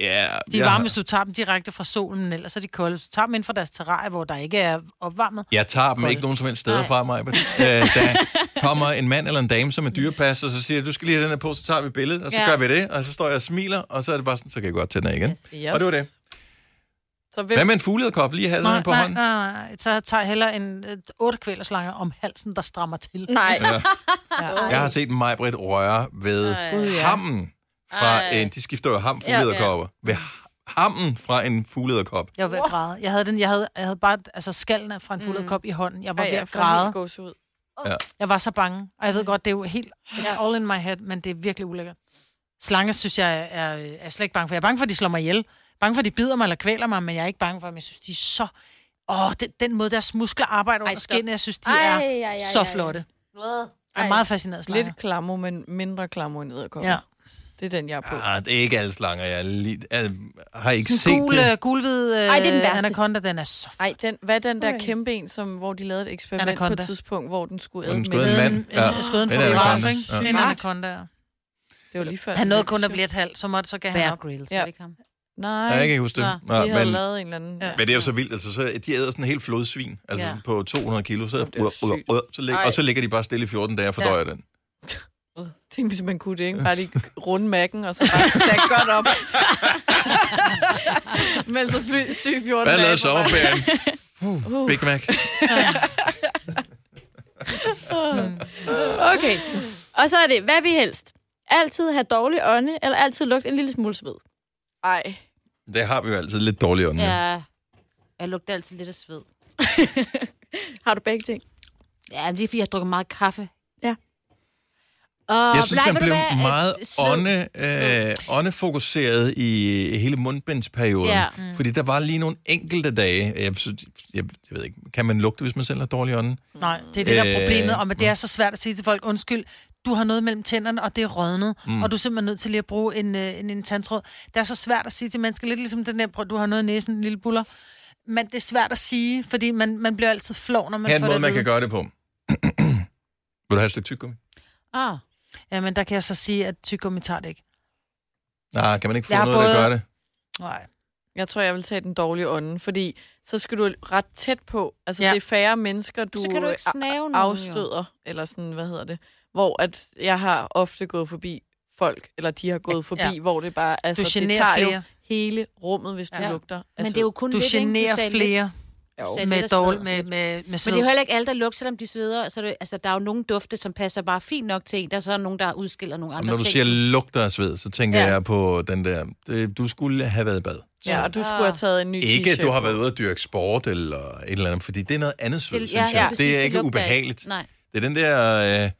Speaker 2: Ja,
Speaker 5: De er
Speaker 2: jeg-
Speaker 5: varme, hvis du tager dem direkte fra solen, men ellers er de kolde. Hvis du tager dem inden fra deres terrarie, hvor der ikke er opvarmet,
Speaker 2: Jeg tager dem
Speaker 5: Kolde.
Speaker 2: ikke nogen som helst steder
Speaker 6: Nej.
Speaker 2: fra mig. Men, øh, der kommer en mand eller en dame, som er dyrepasser, og så siger, jeg, du skal lige have den her på, så tager vi et billede, og så
Speaker 6: Ja.
Speaker 2: gør vi det, og så står jeg og smiler, og så er det bare sådan, så kan jeg godt tage den af igen.
Speaker 3: Yes.
Speaker 2: Og det var det.
Speaker 3: Så hvem,
Speaker 2: Hvad med en fuglederkop? Lige have
Speaker 5: nej,
Speaker 2: den på
Speaker 5: nej,
Speaker 2: hånden.
Speaker 5: nej, nej, så tager jeg hellere en øh, otte kvælerslanger om halsen, der strammer til.
Speaker 4: Nej.
Speaker 5: Ja.
Speaker 2: Jeg har set Majbrit røre ved
Speaker 6: Ej.
Speaker 3: Gud, ja.
Speaker 2: hammen fra
Speaker 6: Ej.
Speaker 2: en... De skifter jo ham
Speaker 6: Ja.
Speaker 2: fuglederkopper. Ved hammen fra en fuglederkop.
Speaker 5: Jeg var ved at græde. Jeg havde, den, jeg havde, jeg havde bare altså, skallen af- fra en
Speaker 6: Mm.
Speaker 5: fuldet kop i hånden. Jeg var ved at græde.
Speaker 3: Gåsehud.
Speaker 5: Jeg var så bange. Og jeg
Speaker 6: Mm.
Speaker 5: ved godt, det er jo helt... It's all in my head, men det er virkelig ulækkert. Slanger synes jeg er, er, er slet ikke bange for. Jeg er bange for, at de slår mig ihjel. Bange for, at de bider mig eller kvæler mig, men jeg er ikke bange for dem. Jeg synes, de er så... Åh, den, den måde, deres muskler arbejder
Speaker 6: Ej,
Speaker 5: under
Speaker 6: stop.
Speaker 5: skinnet, jeg synes, de er ej, ej, så flotte. Jeg er meget fascineret af slanger.
Speaker 3: Lidt klammer, men mindre klammer end æderkopper.
Speaker 5: Ja.
Speaker 3: Ja. Det er den, jeg er på.
Speaker 2: Ah, det er ikke alle slanger. Jeg, er lige, jeg har ikke
Speaker 5: Den
Speaker 2: set
Speaker 5: gule,
Speaker 2: det.
Speaker 5: gulhvid øh,
Speaker 4: Ej, det er den værste.
Speaker 5: anaconda, den er så
Speaker 3: Ej, den, hvad er den der kæmpe en, som, hvor de lavede et eksperiment
Speaker 5: Anaconda.
Speaker 3: Anaconda. på et tidspunkt, hvor den skulle
Speaker 2: Hvor
Speaker 3: æde
Speaker 2: den
Speaker 3: den
Speaker 2: skulle æde en mand. Ja.
Speaker 5: en, skød en
Speaker 2: Den
Speaker 5: fotograf,
Speaker 2: anaconda.
Speaker 5: ikke?
Speaker 2: Ja.
Speaker 5: En anaconda, ja.
Speaker 3: Det var lige før.
Speaker 5: Han
Speaker 3: den
Speaker 5: nåede
Speaker 3: blev
Speaker 5: kun at
Speaker 3: syg.
Speaker 5: blive et halvt, så måtte så gav han
Speaker 6: Bear
Speaker 5: op.
Speaker 6: Grylls,
Speaker 3: Ja.
Speaker 6: ja. ikke ham?
Speaker 3: Nej,
Speaker 2: Nej, jeg kan ikke huske det.
Speaker 5: Nå,
Speaker 2: Nå,
Speaker 3: de havde
Speaker 2: men,
Speaker 3: lavet en eller anden...
Speaker 5: Ja.
Speaker 3: Ja.
Speaker 2: men det er jo så vildt. Altså, så de æder sådan en helt flodsvin altså
Speaker 5: Ja.
Speaker 2: på 200 kilo. Så,
Speaker 3: Jamen, det er jo
Speaker 2: uh, uh, uh, så ligger,
Speaker 3: Ej.
Speaker 2: og så ligger de bare stille i 14 dage og fordøjer den.
Speaker 3: Tænk, hvis man kunne det, ikke? Bare lige runde mækken, og så bare stack godt op. men så fly, syg 14
Speaker 2: Hvad
Speaker 3: dage
Speaker 2: lavede
Speaker 3: på vej.
Speaker 2: sommerferien? Uh, Big Mac.
Speaker 4: Okay. Og så er det, hvad vi helst. Altid have dårlig ånde, eller altid lugte en lille smule sved.
Speaker 3: Ej,
Speaker 2: Det har vi jo altid lidt dårligt ånd. Ja.
Speaker 6: Ja. Jeg lugter altid lidt af sved.
Speaker 4: Har du begge ting?
Speaker 6: Ja, men det er fordi, jeg har drukket meget kaffe.
Speaker 4: Ja.
Speaker 6: Og,
Speaker 2: Jeg synes,
Speaker 6: nej,
Speaker 2: man
Speaker 6: ved du
Speaker 2: blev
Speaker 6: hvad?
Speaker 2: meget
Speaker 6: Øh, sved.
Speaker 2: ånde, øh, åndefokuseret i hele mundbindsperioden.
Speaker 6: Ja.
Speaker 2: Mm. Fordi der var lige nogle enkelte dage, jeg, synes, jeg, jeg ved ikke, kan man lugte, hvis man selv har dårlig ånde?
Speaker 5: Nej, det er det, der
Speaker 2: Øh,
Speaker 5: er problemet, og men det er så svært at sige til folk, undskyld, du har noget mellem tænderne, og det er rødnet, mm. og du er simpelthen nødt til lige at bruge en, øh, en, en tandtråd. Det er så svært at sige til mennesker, lidt ligesom den der, prøv, du har noget i næsen, en lille buller. Men det er svært at sige, fordi man, man bliver altid flov, når man
Speaker 2: Her er en
Speaker 5: får det
Speaker 2: måde,
Speaker 5: at
Speaker 2: man kan
Speaker 5: vide.
Speaker 2: gøre det på. Vil du have et stykke tyggegummi?
Speaker 6: Ah,
Speaker 5: Ja, men der kan jeg så sige, at tyggegummi tager det ikke.
Speaker 2: Nej, kan man ikke få
Speaker 5: Jeg har
Speaker 2: noget, der
Speaker 5: både-
Speaker 2: gør det?
Speaker 5: Nej.
Speaker 3: jeg tror, jeg vil tage den dårlige ånde, fordi så skal du ret tæt på. Altså,
Speaker 5: Ja.
Speaker 3: ja. det er færre mennesker, du,
Speaker 6: så kan du ikke
Speaker 3: øh,
Speaker 6: snave nogen, jo.
Speaker 3: afstøder, eller sådan, hvad hedder det, hvor at jeg har ofte gået forbi folk, eller de har gået forbi,
Speaker 5: Ja.
Speaker 3: ja. hvor det bare, altså, det
Speaker 5: generer
Speaker 3: tager
Speaker 5: flere.
Speaker 3: jo hele rummet, hvis du
Speaker 6: Ja.
Speaker 3: ja. lugter. Altså,
Speaker 6: Men det er jo kun
Speaker 5: Du
Speaker 6: lidt, ikke?
Speaker 5: generer
Speaker 6: sagde lidt.
Speaker 5: flere
Speaker 3: jo,
Speaker 6: sagde lidt
Speaker 5: med,
Speaker 6: af sved.
Speaker 5: dårlig, med, med, med
Speaker 6: Men
Speaker 5: sved.
Speaker 6: det er jo heller ikke alle, der lugter, selvom de sveder. Så er det, altså, der er jo nogle dufte, som passer bare fint nok til en. Der er så nogen, der udskiller nogle
Speaker 2: Og
Speaker 6: andre
Speaker 2: når du
Speaker 6: ting.
Speaker 2: siger lugter af sved, så tænker ja.
Speaker 6: Ja.
Speaker 2: jeg på den der, det, du skulle have været i bad.
Speaker 3: Ja, og du skulle have taget en ny
Speaker 2: Ikke, at
Speaker 3: t-shirt
Speaker 2: du har
Speaker 3: på.
Speaker 2: været ude at dyrke sport eller et eller andet, fordi det er noget andet sved,
Speaker 6: Det-
Speaker 2: synes jeg.
Speaker 6: præcis,
Speaker 2: det er ikke
Speaker 6: lugter
Speaker 2: ubehageligt.
Speaker 6: Nej.
Speaker 2: Det er den der... Øh,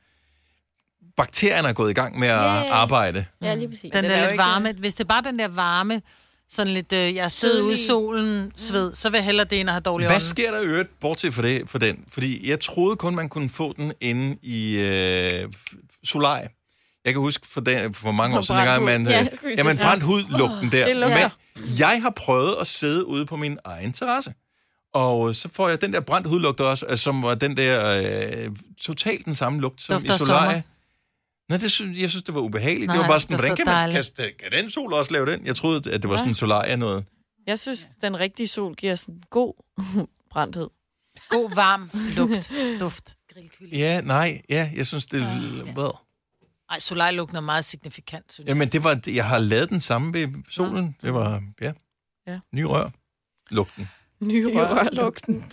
Speaker 2: bakterierne er gået i gang med at
Speaker 6: Ja, ja, ja.
Speaker 2: arbejde.
Speaker 4: Ja, lige præcis.
Speaker 5: Den,
Speaker 3: Den
Speaker 5: der
Speaker 3: er jo
Speaker 5: lidt
Speaker 3: ikke-
Speaker 5: varme. Hvis det er bare den der varme, sådan lidt, øh, jeg sidder ude i
Speaker 6: Sødlig.
Speaker 5: solen,
Speaker 6: Mm.
Speaker 5: sved, så vil jeg hellere det, end at have dårlig
Speaker 2: Hvad
Speaker 5: ånd.
Speaker 2: sker der i øvrigt, bortset for, det, for den? Fordi jeg troede kun, man kunne få den inde i øh, solarie. Jeg kan huske for, den, for mange
Speaker 3: På
Speaker 2: år siden, dengang
Speaker 3: brændt
Speaker 2: man...
Speaker 4: Ja,
Speaker 2: Øh,
Speaker 4: jeg skulle lige til
Speaker 2: jamen,
Speaker 4: at sige.
Speaker 2: brændt hud lugten der.
Speaker 3: det lugter.
Speaker 2: Men jeg har prøvet at sidde ude på min egen terrasse. Og øh, så får jeg den der brændt hudlugt også, øh, som var den der øh, totalt den samme lugt som
Speaker 5: Dufter
Speaker 2: i
Speaker 5: af
Speaker 2: solarie.
Speaker 5: sommer.
Speaker 2: Nej, det synes, jeg synes, det var ubehageligt. Nej,
Speaker 5: Nej,
Speaker 2: det var bare sådan,
Speaker 5: det er
Speaker 2: hvordan
Speaker 5: så
Speaker 2: kan, man, kan,
Speaker 5: dejligt.
Speaker 2: kan den sol også lave den? Jeg troede, at det var sådan en solarie noget.
Speaker 3: Jeg synes, den rigtige sol giver sådan en god brændthed.
Speaker 5: God, varm lugt, duft.
Speaker 2: Ja, nej, ja, jeg synes, det er... Ja.
Speaker 5: Ej, Solar lugter meget signifikant, synes jeg.
Speaker 2: Jamen, det var, jeg har lavet den samme ved solen. Det var, ja.
Speaker 3: Ja.
Speaker 2: Ny rør. Lugten.
Speaker 3: Nye rørlugten.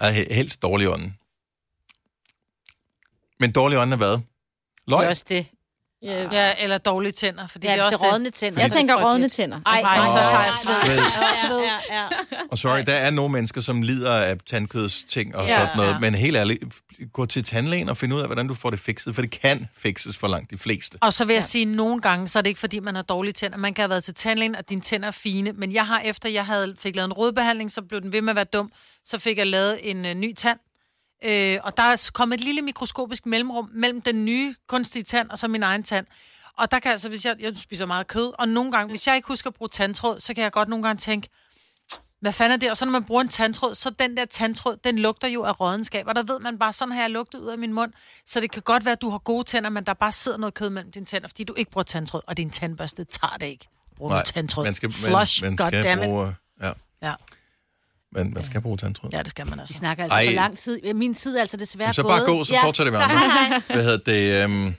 Speaker 2: Ej, he- helst dårlig ånd. Men dårlig ånd er hvad?
Speaker 6: Det
Speaker 2: Løg?
Speaker 6: er også det.
Speaker 4: Yeah.
Speaker 5: Ja, eller dårlige tænder, fordi
Speaker 6: Ja,
Speaker 5: det er også
Speaker 6: det rådne tænder.
Speaker 4: Jeg tænker rådne
Speaker 6: rådne
Speaker 4: tænder. Altså,
Speaker 6: Ej,
Speaker 5: Nej,
Speaker 6: nej,
Speaker 5: så
Speaker 6: nej,
Speaker 5: tager jeg
Speaker 6: nej,
Speaker 5: sved.
Speaker 6: nej, nej.
Speaker 5: Sved.
Speaker 6: Ja, ja, ja.
Speaker 2: Og sorry, der er nogle mennesker, som lider af tandkødsting og ja,
Speaker 5: Ja,
Speaker 2: sådan noget, ja.
Speaker 5: ja.
Speaker 2: men helt ærligt, f- gå til tandlægen og find ud af, hvordan du får det fikset, for det kan fikses for langt de fleste.
Speaker 5: Og så vil jeg ja. sige, at nogle gange, så er det ikke fordi, man har dårlige tænder. Man kan have været til tandlægen, og dine tænder er fine. Men jeg har, efter jeg havde, fik lavet en rodbehandling, så blev den ved med at være dum. Så fik jeg lavet en øh, ny tand. Øh, og der er s- kommet et lille mikroskopisk mellemrum mellem den nye kunstige tand og så min egen tand. Og der kan altså, hvis jeg, jeg spiser meget kød, og nogle gange, hvis jeg ikke husker at bruge tandtråd, så kan jeg godt nogle gange tænke, hvad fanden er det? Og så når man bruger en tandtråd, så den der tandtråd, den lugter jo af rådenskab. Og der ved man bare, sådan har jeg lugtet ud af min mund. Så det kan godt være, at du har gode tænder, men der bare sidder noget kød mellem dine tænder, fordi du ikke bruger tandtråd, og din tandbørste tager det ikke. Brug nu tandtråd.
Speaker 2: man skal, man,
Speaker 5: Flush,
Speaker 2: man skal
Speaker 5: goddammit.
Speaker 2: bruge, ja,
Speaker 5: Ja.
Speaker 2: man, man skal bruge tandtråd.
Speaker 5: ja, det skal man
Speaker 6: Vi
Speaker 5: altså.
Speaker 6: snakker altså
Speaker 2: Ej.
Speaker 6: Ej. for lang tid. Ja, Min tid er altså desværre
Speaker 2: Jamen, så
Speaker 6: gået.
Speaker 2: bare gå, så fortsætter vi andre.
Speaker 6: hej, hej.
Speaker 2: Hvad hedder det? Øhm,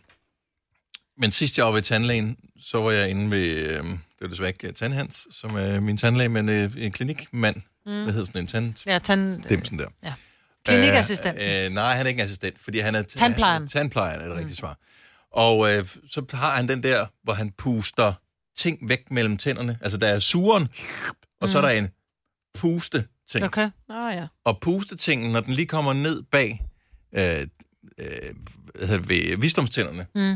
Speaker 2: men sidst jeg var ved tandlægen, så var jeg inde ved, øhm, det var desværre ikke øh, Tandhans, som er min tandlæge, men øh, en klinikmand, mm. hvad hedder sådan en tand...
Speaker 5: Ja, tand...
Speaker 2: Dimsen der.
Speaker 5: Ja. Klinikassistent.
Speaker 2: Øh, øh, nej, han er ikke en assistent, fordi han er...
Speaker 5: Tandplejeren. Mm.
Speaker 2: Tandplejeren er det rigtige svar. Og øh, så har han den der, hvor han puster ting væk mellem tænderne. Altså, der er suren, og så er der en puste ting.
Speaker 5: Mm. Okay.
Speaker 3: Nå ja.
Speaker 2: Og pustetingen, når den lige kommer ned bag øh, øh, hvad hedder det, ved visdomstænderne, mm.
Speaker 5: Mm.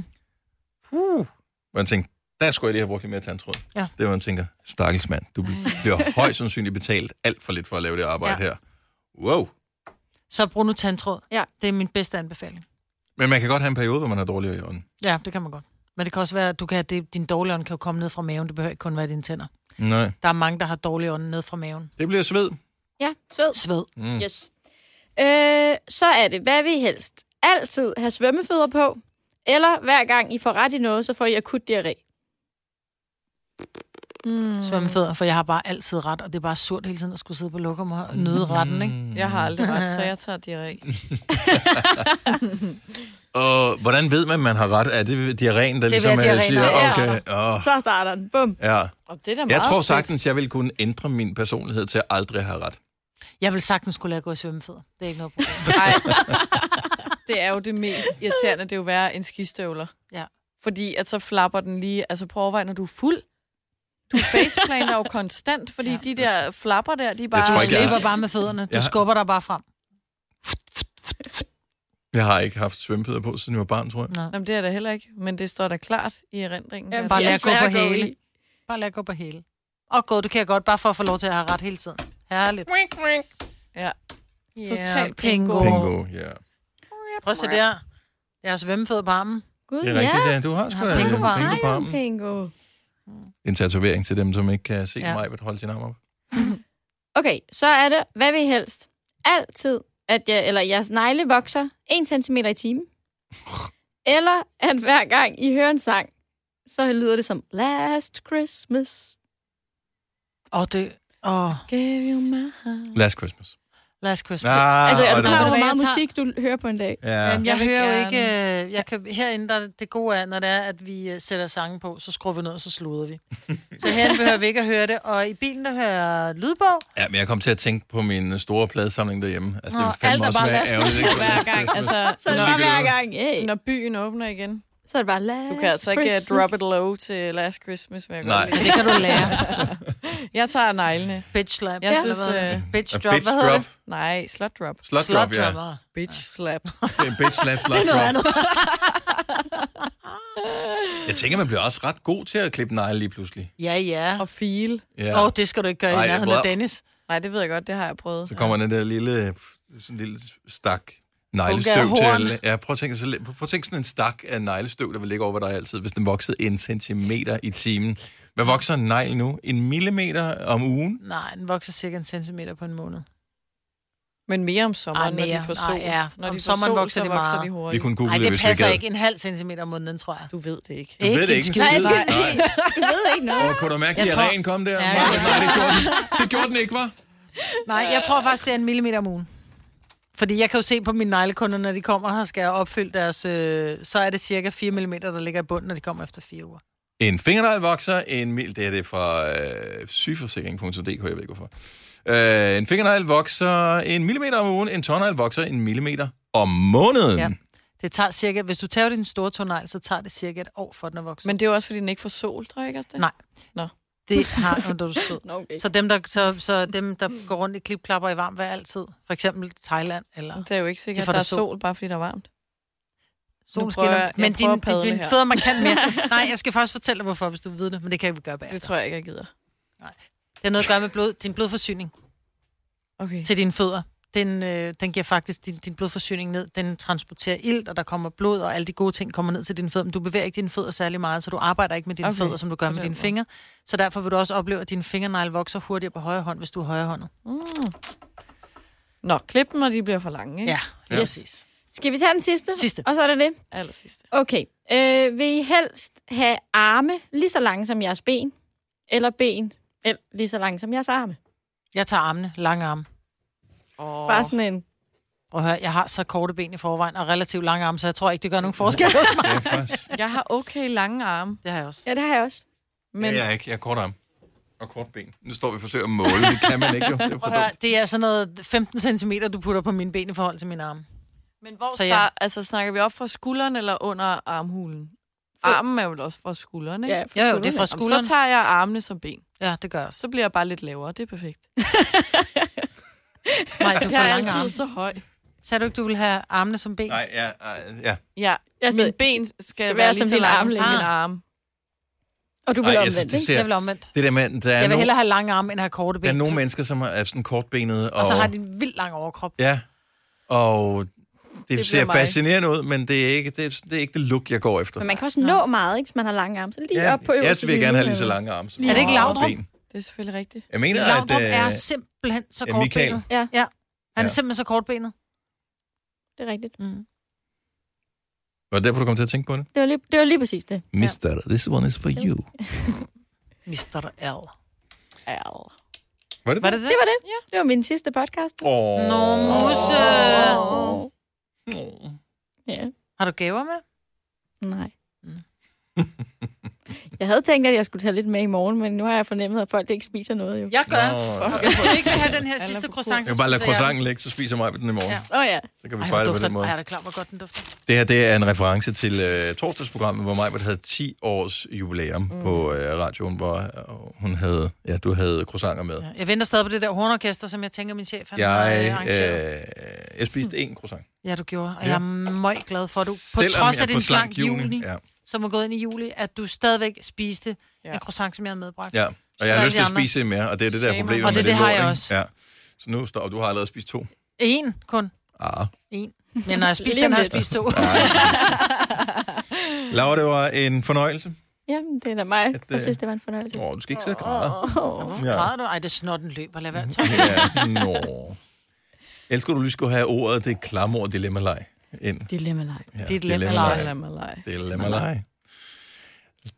Speaker 2: uh, hvor man tænker, der skulle jeg lige have brugt lidt mere tandtråd.
Speaker 5: Ja. Mm.
Speaker 2: Det er, hvor man tænker, stakkels mand, du bl- bliver højst sandsynligt betalt alt for lidt for at lave det arbejde ja.
Speaker 5: Ja.
Speaker 2: her. Wow.
Speaker 5: Så brug nu tandtråd.
Speaker 4: Ja.
Speaker 5: Det er min bedste anbefaling.
Speaker 2: Men man kan godt have en periode, hvor man har dårligere i ånden.
Speaker 5: Ja, det kan man godt. Men det kan også være, at du kan have det, din dårlige ånd kan jo komme ned fra maven. Det behøver ikke kun være dine tænder.
Speaker 2: Nej.
Speaker 5: Der er mange, der har dårlige ånd ned fra maven.
Speaker 2: Det bliver sved.
Speaker 4: Ja, sød.
Speaker 5: Sved.
Speaker 2: Mm.
Speaker 4: Yes. Øh, så er det, hvad vil I helst? Altid have svømmefødder på, eller hver gang I får ret i noget, så får I akut diarré.
Speaker 3: Mm.
Speaker 5: svømmefødder, for jeg har bare altid ret, og det er bare surt hele tiden at skulle sidde på lokum og
Speaker 2: Mm.
Speaker 5: nyde retten, ikke?
Speaker 3: Jeg har aldrig ret, så jeg tager diarré.
Speaker 2: Og hvordan ved man, man har ret? Er det diarréen, der det ligesom
Speaker 5: ved
Speaker 2: er,
Speaker 5: diarréen,
Speaker 2: siger,
Speaker 5: ja.
Speaker 2: okay, oh,
Speaker 4: Så starter den. Bum.
Speaker 2: ja.
Speaker 3: Og det er da meget
Speaker 2: Jeg tror
Speaker 3: fedt.
Speaker 2: sagtens, jeg ville kunne ændre min personlighed til at aldrig have ret.
Speaker 5: Jeg vil sagtens skulle lade gå i svømmefødder. Det er ikke noget problem.
Speaker 3: Nej. Det er jo det mest irriterende, det er jo værre end skistøvler.
Speaker 5: Ja.
Speaker 3: Fordi at så flapper den lige, altså prøv at overveje, når du er fuld. Du faceplaner jo konstant, fordi ja. de der flapper der, de er bare...
Speaker 2: tror
Speaker 5: Du
Speaker 2: ikke, jeg-
Speaker 5: slipper bare med fødderne. Du
Speaker 2: Jeg-
Speaker 5: skubber dig bare frem.
Speaker 2: Jeg har ikke haft svømmepeder på, siden jeg var barn, tror jeg.
Speaker 3: Jamen, det er der heller ikke, men det står da klart i
Speaker 4: Jamen,
Speaker 3: erindringen. Jamen,
Speaker 5: bare
Speaker 4: de er
Speaker 5: lad gå
Speaker 4: svære
Speaker 5: på
Speaker 4: at gå
Speaker 5: hæle.
Speaker 4: i.
Speaker 5: Bare lad gå på hele. Og gå, du kan jeg godt, bare for at få lov til at have ret hele tiden. Herligt.
Speaker 3: Ja.
Speaker 5: Yeah,
Speaker 3: Total
Speaker 5: pingo.
Speaker 2: Bingo, ja.
Speaker 5: Prøv at se der. Jeg har svømmefødder på armen.
Speaker 4: Gud,
Speaker 2: Det er
Speaker 4: ja.
Speaker 2: rigtigt, ja. Du har sgu
Speaker 5: Ja,
Speaker 2: da en
Speaker 5: bingo på armen.
Speaker 2: bingo på armen.
Speaker 4: Pingo.
Speaker 2: En tatovering til dem, som ikke kan se
Speaker 5: Ja.
Speaker 2: mig, vil holde sin arm op.
Speaker 4: Okay, så er det, hvad vil I helst? Altid, at jeg, eller jeres negle vokser 1 cm i timen. Eller at hver gang I hører en sang, så lyder det som Last Christmas.
Speaker 5: Og det... Og
Speaker 3: Give you my heart.
Speaker 2: Last Christmas.
Speaker 5: last Christmas.
Speaker 2: Ah,
Speaker 4: altså, er
Speaker 2: og
Speaker 4: du
Speaker 2: det-
Speaker 4: klar over, hvor
Speaker 5: Jeg
Speaker 4: meget
Speaker 5: tager-
Speaker 4: musik du hører på en dag?
Speaker 2: Ja.
Speaker 5: Jamen, jeg,
Speaker 3: Jeg vil
Speaker 5: jeg hører jo
Speaker 3: gerne.
Speaker 5: ikke... øh, Jeg kan, herinde, der er det gode er, når det er, at vi øh, sætter sange på, så skruer vi ned, og så sluder vi. så herinde behøver vi ikke at høre det, og i bilen, der hører jeg lydbog.
Speaker 2: ja, men jeg kom til at tænke på min øh, store pladesamling derhjemme. Altså, det
Speaker 5: Nå,
Speaker 2: vil fandme
Speaker 5: alt er
Speaker 2: også
Speaker 5: bare
Speaker 2: være
Speaker 5: Last
Speaker 2: ærgerligt, ikke?
Speaker 3: Hver gang, altså,
Speaker 4: Så er det
Speaker 2: Nå,
Speaker 4: bare
Speaker 2: det gør
Speaker 4: hver
Speaker 2: du.
Speaker 4: gang, hey.
Speaker 3: når byen åbner igen.
Speaker 4: så er det bare Last
Speaker 3: Du kan altså ikke uh,
Speaker 4: Christmas.
Speaker 3: drop it low til Last Christmas, vil jeg
Speaker 2: Nej.
Speaker 3: godt lide.
Speaker 5: Det kan du lære.
Speaker 3: Jeg tager neglene.
Speaker 5: Bitch slap.
Speaker 3: Jeg synes,
Speaker 5: Uh,
Speaker 3: øh,
Speaker 5: bitch
Speaker 2: A
Speaker 5: drop.
Speaker 2: bitch
Speaker 5: Hvad hedder
Speaker 2: drop.
Speaker 5: det?
Speaker 3: nej, slot drop.
Speaker 2: Slot drop, ja.
Speaker 5: dropper.
Speaker 3: Bitch slap.
Speaker 2: Det er en bitch slap, slot drop. Jeg tænker, man bliver også ret god til at klippe negle lige pludselig.
Speaker 5: Ja, ja. Åh,
Speaker 3: Og feel.
Speaker 2: Ja.
Speaker 5: ja. oh, det skal du ikke gøre
Speaker 2: Ej,
Speaker 5: i nærheden af
Speaker 2: hvor-
Speaker 5: Dennis.
Speaker 3: Nej, det ved jeg godt, det har jeg prøvet.
Speaker 2: Så kommer den der lille, sådan en lille stak
Speaker 5: Bunke
Speaker 2: neglestøv
Speaker 5: af horn.
Speaker 2: til. Ja, prøv at tænke, så, prøv at tænke sådan en stak af neglestøv, der vil ligge over dig altid, hvis den voksede en centimeter i timen. Hvad vokser en negl nu? En millimeter om ugen?
Speaker 5: Nej, den vokser cirka en centimeter på en måned.
Speaker 2: Uhuh,
Speaker 3: Men mere om sommeren,
Speaker 5: Ej,
Speaker 3: Ej, når
Speaker 5: mere.
Speaker 3: de får sol.
Speaker 5: Nej, ja.
Speaker 3: Når
Speaker 5: Om
Speaker 3: de får
Speaker 5: sommeren
Speaker 3: sol,
Speaker 5: vokser
Speaker 3: så
Speaker 5: det
Speaker 3: vokser
Speaker 5: meget.
Speaker 3: de
Speaker 2: Vi
Speaker 3: hurtigt.
Speaker 2: kunne google
Speaker 5: Nej,
Speaker 2: det,
Speaker 5: det
Speaker 2: hvis vi
Speaker 5: passer
Speaker 2: gad.
Speaker 5: ikke. En halv centimeter om måneden, tror jeg.
Speaker 3: Du ved det ikke.
Speaker 2: Du ved det
Speaker 5: en
Speaker 2: ikke. en
Speaker 5: skid.
Speaker 2: skid.
Speaker 5: Nej, jeg skal
Speaker 2: Nej.
Speaker 4: Du ved ikke noget.
Speaker 2: Og kunne du mærke, at
Speaker 5: Jeg tror-
Speaker 2: diarréen kom der?
Speaker 5: Ja,
Speaker 2: Nej,
Speaker 5: ja.
Speaker 2: nej, det gjorde den, det gjorde den ikke, var?
Speaker 5: Nej, jeg tror faktisk, det er en millimeter om ugen. Fordi jeg kan jo se på mine neglekunder, når de kommer her, skal jeg opfylde deres... Øh, så er det cirka 4 mm, der ligger i bunden, når de kommer efter 4 uger.
Speaker 2: En fingernegl vokser, en mil, det er det fra øh, sygeforsikring.dk, jeg ved ikke hvorfor. Øh, en fingernegl vokser en millimeter om ugen, en tårnegl vokser en millimeter om måneden. Ja.
Speaker 5: Ja. Det tager cirka... Hvis du tager din store tonal, så tager det cirka et år, for den er vokset.
Speaker 3: Men det er jo også, fordi den ikke får sol, tror jeg ikke også det?
Speaker 5: Nej.
Speaker 3: Nå.
Speaker 5: Det har hun, da du sød.
Speaker 4: Nå, okay.
Speaker 5: Så dem, der, så, så dem, der går rundt i klipklapper i varmt vejr altid, for eksempel Thailand eller
Speaker 3: Det er jo ikke sikkert,
Speaker 5: De
Speaker 3: at
Speaker 5: får
Speaker 3: der er
Speaker 5: da sol.
Speaker 3: sol, bare fordi der er varmt. prøver
Speaker 5: solen skinner,
Speaker 3: jeg- jeg
Speaker 5: men
Speaker 3: prøver
Speaker 5: din,
Speaker 3: at padle
Speaker 5: din, din
Speaker 3: her.
Speaker 5: fødder markant mere. Nej, jeg skal faktisk fortælle dig, hvorfor, hvis du ved det, men det kan vi gøre bagefter.
Speaker 3: Det tror jeg ikke, jeg gider.
Speaker 5: Det har noget at gøre med blod, din blodforsyning
Speaker 3: Okay.
Speaker 5: til dine fødder. Den, øh, den giver faktisk din, din blodforsyning ned. Den transporterer ilt, og der kommer blod, og alle de gode ting kommer ned til dine fødder. Men du bevæger ikke dine fødder særlig meget, så du arbejder ikke med dine
Speaker 3: Okay,
Speaker 5: okay. fødder, som du gør
Speaker 3: på
Speaker 5: med
Speaker 3: den
Speaker 5: dine
Speaker 3: måde.
Speaker 5: fingre. Så derfor vil du også opleve, at dine fingernegle vokser hurtigere på højre hånd, hvis du er højrehåndet.
Speaker 3: Nå, klip dem, og de bliver for lange, ikke?
Speaker 5: Ja,
Speaker 4: Ja.
Speaker 5: præcis.
Speaker 4: Skal vi tage den sidste?
Speaker 5: Sidste.
Speaker 4: Og så er det det.
Speaker 3: Aller sidste.
Speaker 4: Okay. Øh, vil I helst have arme lige så lange som jeres ben? Eller ben eller lige så lange som jeres arme?
Speaker 5: Jeg tager armene, lange arme.
Speaker 4: Oh. Bare sådan en...
Speaker 5: Prøv at høre, jeg har så korte ben i forvejen, og relativt lange arme, så jeg tror ikke, det gør nogen forskel.
Speaker 2: Det er faktisk,
Speaker 3: Jeg har okay lange arme,
Speaker 5: det har jeg også.
Speaker 4: Ja, det har jeg også.
Speaker 3: men...
Speaker 2: jeg er ikke, jeg er kort arm og kort ben. Nu står vi og forsøger at måle, det kan man ikke jo. Det er jo for
Speaker 5: Prøv at høre,
Speaker 2: dumt.
Speaker 5: det er sådan noget 15 cm, du putter på mine ben i forhold til mine arme.
Speaker 3: Men hvor
Speaker 5: Så
Speaker 3: så
Speaker 5: ja.
Speaker 3: ja. altså, snakker vi op fra skulderen eller under armhulen? Armen er vel også fra skulderen, ikke?
Speaker 4: Ja,
Speaker 3: Ja.
Speaker 4: for
Speaker 5: Jo, jo,
Speaker 4: skuldrene.
Speaker 5: det er fra skulderen.
Speaker 3: Så tager jeg armene som ben.
Speaker 5: Ja, det gør jeg også.
Speaker 3: Så bliver jeg bare lidt lavere. Det er perfekt.
Speaker 5: Nej, du får
Speaker 3: Jeg er
Speaker 5: lange
Speaker 3: altid
Speaker 5: arme.
Speaker 3: så høj.
Speaker 5: Sagde du ikke, du vil have armene som ben?
Speaker 2: Nej, ja, ej, ja.
Speaker 3: Ja,
Speaker 4: Altså,
Speaker 3: altså, mine ben skal,
Speaker 4: være
Speaker 3: skal være
Speaker 4: som
Speaker 3: lige så
Speaker 4: din
Speaker 3: lange
Speaker 4: armlængde.
Speaker 3: som min arm.
Speaker 4: Og du vil
Speaker 2: Ej, jeg
Speaker 4: omvendt,
Speaker 2: synes, det
Speaker 4: ikke?
Speaker 2: ser...
Speaker 5: Jeg vil omvendt.
Speaker 2: Det der med, der er,
Speaker 5: Jeg vil
Speaker 2: nogle,
Speaker 5: hellere have lange arme, end have korte ben.
Speaker 2: der er nogle mennesker, som er sådan kortbenede. Og,
Speaker 5: Og så har de en vildt lang overkrop.
Speaker 2: Ja, og det, det
Speaker 3: bliver
Speaker 2: ser
Speaker 3: mig.
Speaker 2: fascinerende ud, men det er, ikke, det, er, det er ikke det look, jeg går efter.
Speaker 4: Men man kan også nå meget, ikke? Hvis man har lange arme. Så lige
Speaker 2: Ja,
Speaker 4: op på
Speaker 2: jeg
Speaker 4: øverste
Speaker 2: vil gerne have lige
Speaker 4: hylde.
Speaker 2: så lange arme. Som
Speaker 5: Er det ikke
Speaker 2: jeg har
Speaker 5: Laudrup?
Speaker 2: ben.
Speaker 3: Det er selvfølgelig rigtigt.
Speaker 2: Jeg mener, at...
Speaker 5: Laudrup
Speaker 2: øh,
Speaker 5: er simpelthen så
Speaker 2: ja, Michael.
Speaker 5: kortbenet.
Speaker 4: Ja.
Speaker 5: ja. Han er
Speaker 2: Ja.
Speaker 5: simpelthen så kortbenet.
Speaker 4: Det er rigtigt.
Speaker 5: Mm.
Speaker 2: Var det derfor, du kom til at tænke på det?
Speaker 4: Det var lige, det var lige præcis det.
Speaker 2: Mister, this one is for you.
Speaker 5: Mr. L.
Speaker 2: Var det
Speaker 5: Var det det?
Speaker 4: Det var det. Ja. Det var min sidste podcast.
Speaker 2: Åh.
Speaker 5: Nå, Musse.
Speaker 2: Åh.
Speaker 4: Ja.
Speaker 5: Har du gaver med?
Speaker 4: Nej. jeg havde tænkt, at jeg skulle tage lidt med i morgen, men nu har jeg fornemmet, at folk ikke spiser noget. Jo.
Speaker 5: Jeg gør.
Speaker 2: Nå, ja.
Speaker 5: Fuck, Jeg skulle ikke have den her sidste croissant.
Speaker 2: Jeg kan bare lade croissanten ligge, så spiser mig ved den i morgen.
Speaker 5: Ja.
Speaker 4: Åh oh, ja.
Speaker 2: Så kan vi
Speaker 5: Ej, hvor
Speaker 2: fejre det på
Speaker 5: dufter
Speaker 2: den
Speaker 5: den.
Speaker 2: måde.
Speaker 5: Ej, er det klar, hvor godt den dufter.
Speaker 2: Det her det er en reference til øh, torsdagsprogrammet, hvor Majbert havde 10 års jubilæum mm. på øh, radioen, hvor øh, hun havde, ja, du havde croissanter med.
Speaker 5: Jeg venter stadig på det der hornorkester, som jeg tænker, min chef han har øh,
Speaker 2: Jeg,
Speaker 5: arrangeret.
Speaker 2: øh, jeg spiste en croissant.
Speaker 5: Ja, du gjorde, og
Speaker 2: ja.
Speaker 5: jeg er meget glad for, at du på
Speaker 2: Selvom
Speaker 5: trods
Speaker 2: jeg
Speaker 5: af
Speaker 2: er
Speaker 5: din
Speaker 2: på
Speaker 5: slank
Speaker 2: juni,
Speaker 5: juni,
Speaker 2: Ja.
Speaker 5: som er gået ind i juli, at du stadigvæk spiste
Speaker 3: Ja.
Speaker 5: ja. en croissant, som jeg havde medbragt.
Speaker 2: ja, og jeg har
Speaker 5: er
Speaker 2: lyst til
Speaker 5: de
Speaker 2: at
Speaker 5: andre.
Speaker 2: spise mere, og det er det der
Speaker 3: Shame
Speaker 2: problem
Speaker 5: on. Og
Speaker 2: med
Speaker 5: det- det har
Speaker 2: lort,
Speaker 5: jeg
Speaker 2: ikke?
Speaker 5: også.
Speaker 2: Ja. Så nu står og du har allerede spist to.
Speaker 5: En kun.
Speaker 2: Ah.
Speaker 5: En. Men når jeg spiste
Speaker 4: Lige om
Speaker 5: den, har
Speaker 4: lidt.
Speaker 5: jeg spist to.
Speaker 2: Laura, det var en fornøjelse.
Speaker 4: Jamen, det er da mig.
Speaker 2: At,
Speaker 4: Jeg
Speaker 2: øh,
Speaker 4: synes, det var en fornøjelse.
Speaker 2: Åh, du skal ikke sidde og græde.
Speaker 4: Oh.
Speaker 5: Hvorfor
Speaker 2: Ja. Mhm.
Speaker 5: græder du? Ej, det er snotten løber. Lad være.
Speaker 2: Ja, nå. Elsker du lige skulle have ordet, det klamord dilemma-leg ind.
Speaker 3: Dilemma leg.
Speaker 2: Ja,
Speaker 5: Dilemma-leg.
Speaker 3: Dilemma leg.
Speaker 2: Dilemma-leg.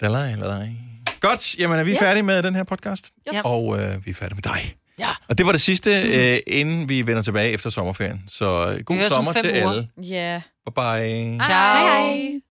Speaker 2: Dilemma-leg. Godt, jamen er vi færdige med den her podcast?
Speaker 5: Yes.
Speaker 2: Og øh, vi er færdige med dig.
Speaker 5: Ja. Mm.
Speaker 2: Og det var det sidste, øh, inden vi vender tilbage efter sommerferien. Så øh, god
Speaker 5: høres om
Speaker 2: sommer
Speaker 5: fem
Speaker 2: til
Speaker 5: uger.
Speaker 2: alle.
Speaker 3: Ja.
Speaker 2: Bye bye.
Speaker 5: Ciao.
Speaker 4: Hej hej.